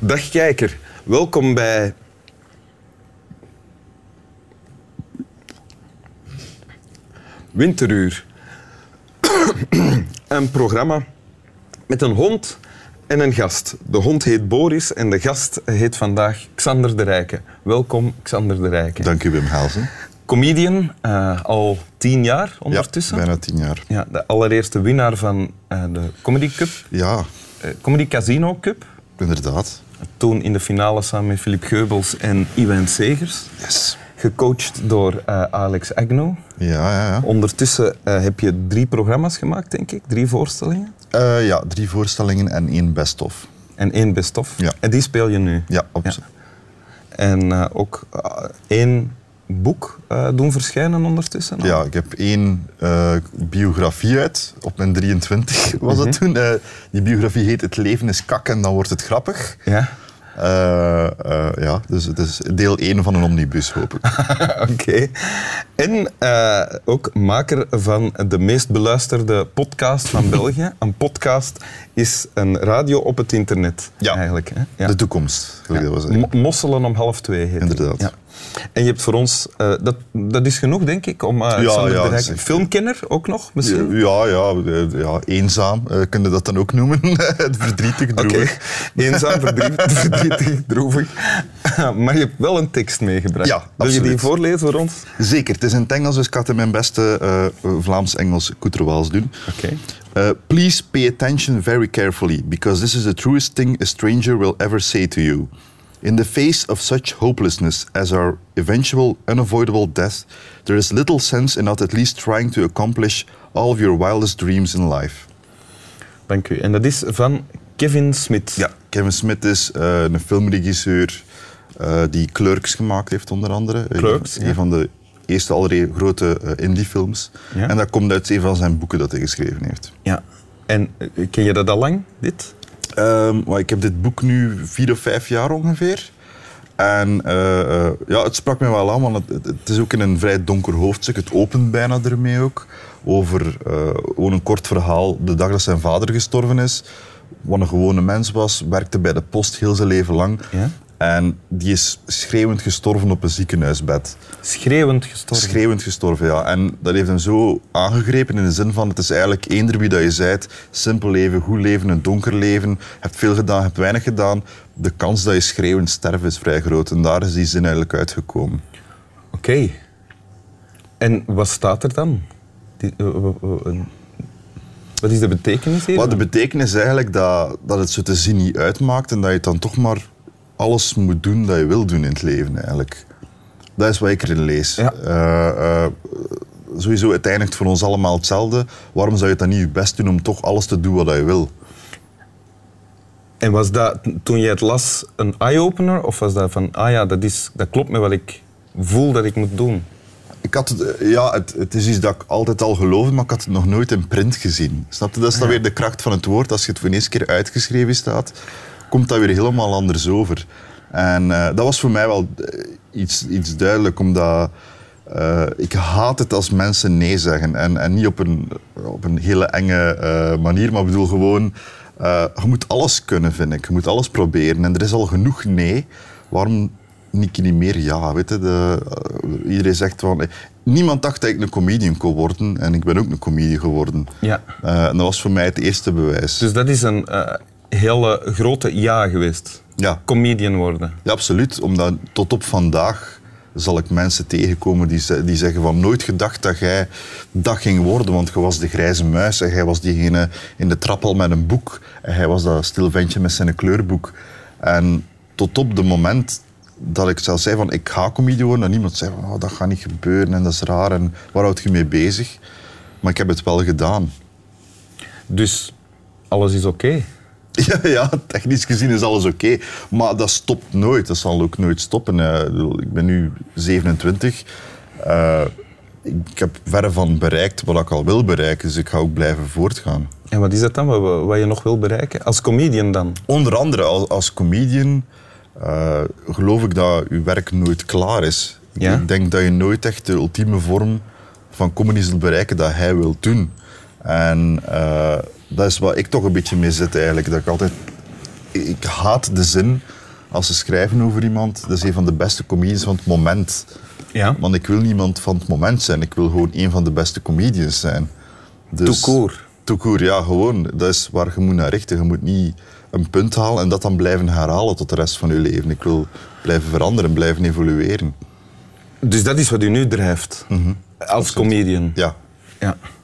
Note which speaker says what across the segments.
Speaker 1: Dag kijker, welkom bij. Winteruur. een programma met een hond en een gast. De hond heet Boris en de gast heet vandaag Xander de Rijke. Welkom, Xander de Rijke.
Speaker 2: Dank u, Wim Helsen.
Speaker 1: Comedian, eh, al tien jaar ondertussen.
Speaker 2: Ja, bijna tien jaar.
Speaker 1: Ja, de allereerste winnaar van eh, de Comedy Cup,
Speaker 2: Ja,
Speaker 1: eh, Comedy Casino Cup.
Speaker 2: inderdaad.
Speaker 1: Toen in de finale samen met Filip Geubels en Iwan Segers.
Speaker 2: Yes.
Speaker 1: Gecoacht door eh, Alex Agnew.
Speaker 2: Ja, ja, ja.
Speaker 1: Ondertussen eh, heb je drie programma's gemaakt, denk ik. Drie voorstellingen.
Speaker 2: Eh, ja, drie voorstellingen en één best-of.
Speaker 1: En één best-of.
Speaker 2: Ja.
Speaker 1: En die speel je nu.
Speaker 2: Ja, absoluut.
Speaker 1: En eh, ook eh, één boek eh, doen verschijnen ondertussen.
Speaker 2: Ja. ik heb één eh, biografie uit. Op mijn 23 was het toen. Eh, die biografie heet Het leven is kak en dan wordt het grappig.
Speaker 1: Ja?
Speaker 2: Eh, eh, ja, dus het is deel 1 van een omnibus, hoop ik.
Speaker 1: Oké. En eh, ook maker van de meest beluisterde podcast van België. Een podcast is een radio op het internet
Speaker 2: Ja.
Speaker 1: eigenlijk. Hè?
Speaker 2: De toekomst, gelijk dat we zeggen.
Speaker 1: Mo- Mosselen om half twee heet die.
Speaker 2: Inderdaad.
Speaker 1: Ja. En je hebt voor ons, eh, dat, dat is genoeg denk ik, om eh
Speaker 2: Ja,
Speaker 1: Xander
Speaker 2: ja,
Speaker 1: de Rijk-
Speaker 2: zeker.
Speaker 1: filmkenner ook nog misschien?
Speaker 2: Ja, ja, eh, ja, eenzaam eh, kun je dat dan ook noemen. Het verdrietig
Speaker 1: Oké,
Speaker 2: droevig.
Speaker 1: eenzaam, verdriet- verdrietig, droevig. maar je hebt wel een tekst meegebracht.
Speaker 2: Ja,
Speaker 1: Wil je die
Speaker 2: absoluut.
Speaker 1: voorlezen voor ons?
Speaker 2: Zeker, het is in het Engels, dus ik had in mijn beste eh, Vlaams-Engels koeterwaals doen.
Speaker 1: Oké.
Speaker 2: Eh, please pay attention very carefully, because this is the truest thing a stranger will ever say to you. In the face of such hopelessness as our eventual unavoidable death, there is little sense in not at least trying to accomplish all of your wildest dreams in life.
Speaker 1: Dank u. En dat is van Kevin Smit.
Speaker 2: Ja, Kevin Smith is eh, een filmregisseur eh, die Clerks gemaakt heeft, onder andere.
Speaker 1: Clerks,
Speaker 2: Een
Speaker 1: ja.
Speaker 2: van de eerste allereer grote eh, indiefilms.
Speaker 1: Ja.
Speaker 2: En dat komt uit een van zijn boeken dat hij geschreven heeft.
Speaker 1: Ja. En eh, ken je dat al lang, dit?
Speaker 2: Ehm, maar ik heb dit boek nu vier of vijf jaar ongeveer. En eh, eh, ja, het sprak mij wel aan, want het, het- het is ook in een vrij donker hoofdstuk. Het opent bijna ermee ook. Over eh, gewoon een kort verhaal. De dag dat zijn vader gestorven is, wat een gewone mens was, werkte bij de post heel zijn leven lang.
Speaker 1: Ja.
Speaker 2: En die is schreeuwend gestorven op een ziekenhuisbed.
Speaker 1: Schreeuwend gestorven.
Speaker 2: Schreeuwend gestorven, ja. En dat heeft hem zo aangegrepen in de zin van: het is eigenlijk eender wie dat je zijt. Simpel leven, goed leven, een donker leven. Je hebt veel gedaan, je hebt weinig gedaan. De kans dat je schreeuwend sterft is vrij groot. En daar is die zin eigenlijk uitgekomen.
Speaker 1: Oké. En wat staat er dan? Die- eh, eh, eh, eh, wat is de betekenis hier?
Speaker 2: Wat de betekenis is eigenlijk dat, dat het zo te zien niet uitmaakt. En dat je dan toch maar alles moet doen dat je wil doen in het leven eigenlijk. Dat is wat ik erin lees.
Speaker 1: Ja.
Speaker 2: Eh, eh, sowieso, het eindigt voor ons allemaal hetzelfde. Waarom zou je dan niet je best doen om toch alles te doen wat je wil?
Speaker 1: En was dat t- toen jij het las een eye-opener? Of was dat van, ah ja, dat, is, dat klopt met wat ik voel dat ik moet doen?
Speaker 2: Ik had het, eh, ja, het, het is iets dat ik altijd al geloofde, maar ik had het nog nooit in print gezien. Snap je? Dat is dan weer de kracht van het woord. Als je het voor de eerste keer uitgeschreven staat, komt dat weer helemaal anders over. En eh, dat was voor mij wel eh, iets, iets duidelijk, omdat eh, ik haat het als mensen nee zeggen. En, en niet op een, op een hele enge eh, manier, maar ik bedoel gewoon... eh, je moet alles kunnen, vind ik. Je moet alles proberen. En er is al genoeg nee. Waarom niet niet meer ja, weet je. De, eh, iedereen zegt van... eh, Niemand dacht dat ik een comedian kon worden. En ik ben ook een comedian geworden.
Speaker 1: Ja.
Speaker 2: Eh, en dat was voor mij het eerste bewijs.
Speaker 1: Dus dat is een eh, hele grote ja geweest.
Speaker 2: Ja.
Speaker 1: Comedian worden.
Speaker 2: ja, absoluut. Omdat tot op vandaag zal ik mensen tegenkomen die, ze- die zeggen van... Nooit gedacht dat jij dat ging worden. Want je was de grijze muis. En jij was diegene in de trap al met een boek. En hij was dat stil ventje met zijn kleurboek. En tot op de moment dat ik zelf zei van ik ga comedian worden, dat niemand zei van oh, dat gaat niet gebeuren en dat is raar en waar houd je mee bezig? Maar ik heb het wel gedaan.
Speaker 1: Dus alles is oké.
Speaker 2: Ja, ja, technisch gezien is alles oké. Maar dat stopt nooit. Dat zal ook nooit stoppen. Eh, ik bedoel, ik ben nu 27. Eh, ik, ik heb verre van bereikt wat ik al wil bereiken. Dus ik ga ook blijven voortgaan.
Speaker 1: En wat is dat dan, wat- wat, wat je nog wil bereiken? Als comedian dan?
Speaker 2: Onder andere als, als comedian eh, geloof ik dat je werk nooit klaar is.
Speaker 1: Ja.
Speaker 2: Ik denk dat je nooit echt de ultieme vorm van comedy zult bereiken dat hij wil doen. En eh, dat is waar ik toch een beetje mee zit eigenlijk. Dat ik altijd ik haat de zin als ze schrijven over iemand. Dat is een van de beste comedians van het moment.
Speaker 1: Ja.
Speaker 2: Want ik wil niemand van het moment zijn. Ik wil gewoon een van de beste comedians zijn.
Speaker 1: Tout
Speaker 2: Dus,
Speaker 1: court.
Speaker 2: tout court, ja, gewoon. Dat is waar je moet naar richten. Je moet niet een punt halen en dat dan blijven herhalen tot de rest van je leven. Ik wil blijven veranderen, blijven evolueren.
Speaker 1: Dus dat is wat u nu drijft. Als comedian.
Speaker 2: Ja,
Speaker 1: Mhm. Ja. Mhm.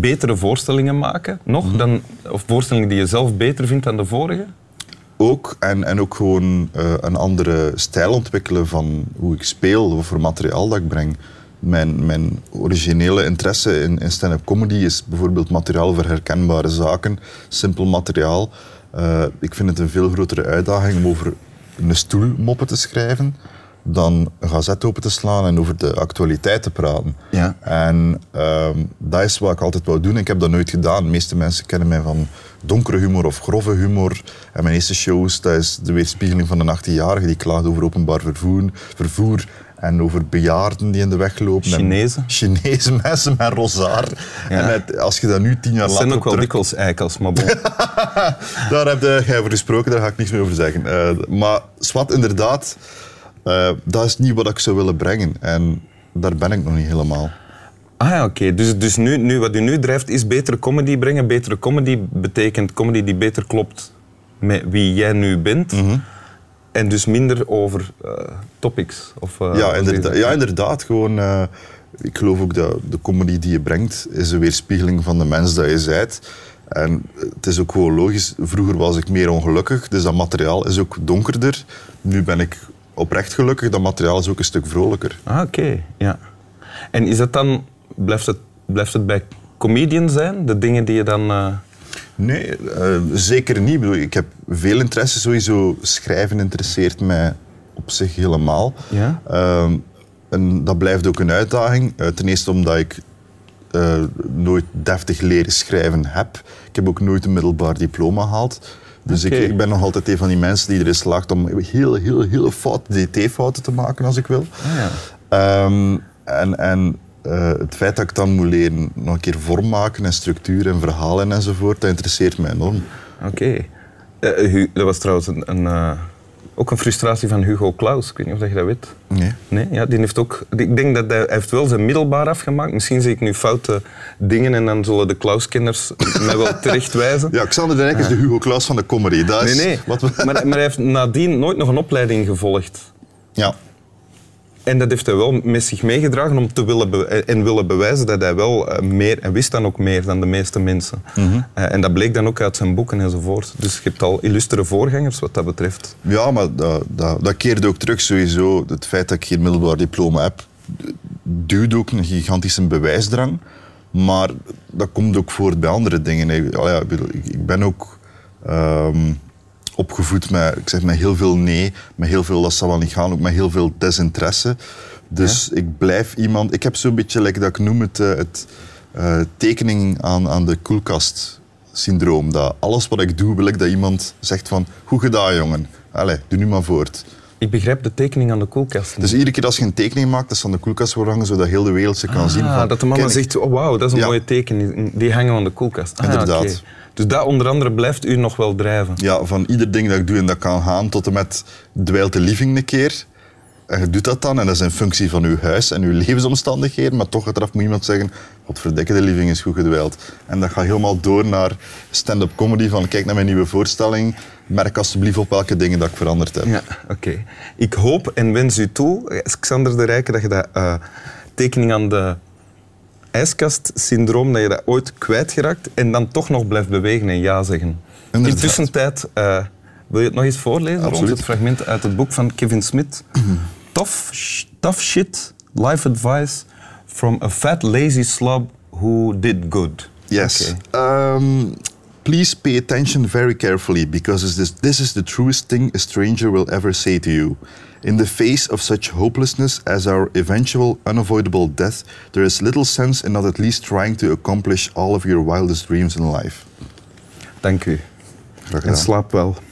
Speaker 1: Betere voorstellingen maken, nog, dan, of voorstellingen die je zelf beter vindt dan de vorige?
Speaker 2: ook. En, en ook gewoon eh, een andere stijl ontwikkelen van hoe ik speel, wat voor materiaal dat ik breng. Mijn, mijn originele interesse in, in stand-up comedy is bijvoorbeeld materiaal voor herkenbare zaken, simpel materiaal. Eh, ik vind het een veel grotere uitdaging om over een stoel moppen te schrijven dan een gazet open te slaan en over de actualiteit te praten.
Speaker 1: Ja.
Speaker 2: En ehm, dat is wat ik altijd wou doen. Ik heb dat nooit gedaan. De meeste mensen kennen mij van donkere humor of grove humor. En mijn eerste shows, dat is de weerspiegeling van een 18-jarige die klaagt over openbaar vervoer, vervoer en over bejaarden die in de weg lopen. En
Speaker 1: Chinezen.
Speaker 2: Chinese mensen met rozaar. En het- als je dat nu tien jaar
Speaker 1: Dat
Speaker 2: later
Speaker 1: zijn ook
Speaker 2: op
Speaker 1: wel
Speaker 2: terug-
Speaker 1: dikwijls eikels, maar bon.
Speaker 2: daar heb je- jij over gesproken, daar ga ik niks meer over zeggen. Eh, maar zwart, inderdaad, eh, dat is niet wat ik zou willen brengen. En daar ben ik nog niet helemaal.
Speaker 1: Ah ja, oké. Dus, dus nu, nu, wat u nu drijft is betere comedy brengen. Betere comedy betekent comedy die beter klopt met wie jij nu bent. En dus minder over eh, topics. Of, eh,
Speaker 2: ja,
Speaker 1: wat
Speaker 2: inderdaad,
Speaker 1: is het?
Speaker 2: ja, inderdaad. Gewoon, eh, ik geloof ook dat de comedy die je brengt, is een weerspiegeling van de mens dat je bent. En het is ook gewoon logisch. Vroeger was ik meer ongelukkig, dus dat materiaal is ook donkerder. Nu ben ik oprecht gelukkig, dat materiaal is ook een stuk vrolijker.
Speaker 1: Ah, oké. Ja. En is dat dan... Blijft het, blijft het bij comedian zijn? De dingen die je dan... eh,
Speaker 2: Nee, eh, zeker niet. Ik, bedoel, ik heb veel interesse sowieso. Schrijven interesseert mij op zich helemaal.
Speaker 1: Ja?
Speaker 2: Ehm, en dat blijft ook een uitdaging. Eh, ten eerste omdat ik eh, nooit deftig leren schrijven heb. Ik heb ook nooit een middelbaar diploma gehaald. Dus
Speaker 1: Oké.
Speaker 2: ik, ik ben nog altijd een van die mensen die erin slaagt om heel, heel, heel fout DT-fouten te maken als ik wil.
Speaker 1: Ah, ja.
Speaker 2: Ehm, en en eh, het feit dat ik dan moet leren nog een keer vorm maken en structuur en verhalen enzovoort, dat interesseert mij enorm.
Speaker 1: Oké. Eh, Hu- dat was trouwens een, een, eh, ook een frustratie van Hugo Claus. Ik weet niet of dat je dat weet.
Speaker 2: Nee.
Speaker 1: Nee, ja, die heeft ook. die- Ik denk dat hij, hij heeft wel zijn middelbaar afgemaakt. Misschien zie ik nu foute dingen en dan zullen de Klauskenners mij wel terechtwijzen.
Speaker 2: Ja, Xander de Rijk is de Hugo Klaus van de comedy. Dat
Speaker 1: nee,
Speaker 2: is
Speaker 1: nee.
Speaker 2: Wat we,
Speaker 1: Maar, maar hij heeft nadien nooit nog een opleiding gevolgd.
Speaker 2: ja.
Speaker 1: En dat heeft hij wel met zich meegedragen om te willen be- en willen bewijzen dat hij wel eh, meer en wist dan ook meer dan de meeste mensen.
Speaker 2: Mhm.
Speaker 1: Eh, en dat bleek dan ook uit zijn boeken enzovoort. Dus je hebt al illustere voorgangers wat dat betreft.
Speaker 2: ja, maar dat, dat, dat keert ook terug sowieso. Het feit dat ik geen middelbaar diploma heb, duwt ook een gigantische bewijsdrang. Maar dat komt ook voort bij andere dingen. Ik, allee, ja, ik, bedoel, ik- ik ben ook ehm, opgevoed met, ik zeg, met heel veel nee, met heel veel dat zal wel niet gaan, ook met heel veel desinteresse. Dus ik blijf iemand... Ik heb zo'n beetje, like dat ik noem het, eh, het eh, tekening aan, aan de koelkast-syndroom. Dat alles wat ik doe, wil ik dat iemand zegt van, goed gedaan jongen, allee, doe nu maar voort.
Speaker 1: Ik begrijp de tekening aan de koelkast. niet.
Speaker 2: Dus iedere keer als je een tekening maakt, dat ze aan de koelkast wordt hangen, zodat heel de wereld ze kan zien.
Speaker 1: Ah,
Speaker 2: van,
Speaker 1: dat de mama
Speaker 2: kijk,
Speaker 1: zegt, oh, wauw, dat is een
Speaker 2: Ja.
Speaker 1: mooie tekening. Die hangen we aan de koelkast. Ah,
Speaker 2: Inderdaad.
Speaker 1: oké. Dus dat onder andere blijft u nog wel drijven.
Speaker 2: Ja, van ieder ding dat ik doe en dat kan gaan tot en met dweilt de living een keer. En je doet dat dan en dat is een functie van uw huis en uw levensomstandigheden. Maar toch achteraf moet iemand zeggen, godverdikke, de living is goed gedweild. En dat gaat helemaal door naar stand-up comedy van kijk naar mijn nieuwe voorstelling. Merk alsjeblieft op welke dingen dat ik veranderd heb.
Speaker 1: Ja, oké. Ik hoop en wens u toe, eh, Xander de Rijke, dat je dat eh, tekening aan de ijskast-syndroom, dat je dat ooit kwijtgeraakt en dan toch nog blijft bewegen en ja zeggen.
Speaker 2: Inderdaad.
Speaker 1: Intussen tijd, eh, wil je het nog eens voorlezen?
Speaker 2: Absoluut.
Speaker 1: Rond het fragment uit het boek van Kevin Smith. tough, sh- tough shit, life advice from a fat lazy slob who did good.
Speaker 2: Yes.
Speaker 1: Oké.
Speaker 2: Um, please pay attention very carefully because this, is- this is the truest thing a stranger will ever say to you. In the face of such hopelessness as our eventual unavoidable death, there is little sense in not at least trying to accomplish all of your wildest dreams in life.
Speaker 1: Dank u.
Speaker 2: Graag
Speaker 1: En
Speaker 2: gedaan.
Speaker 1: slaap wel.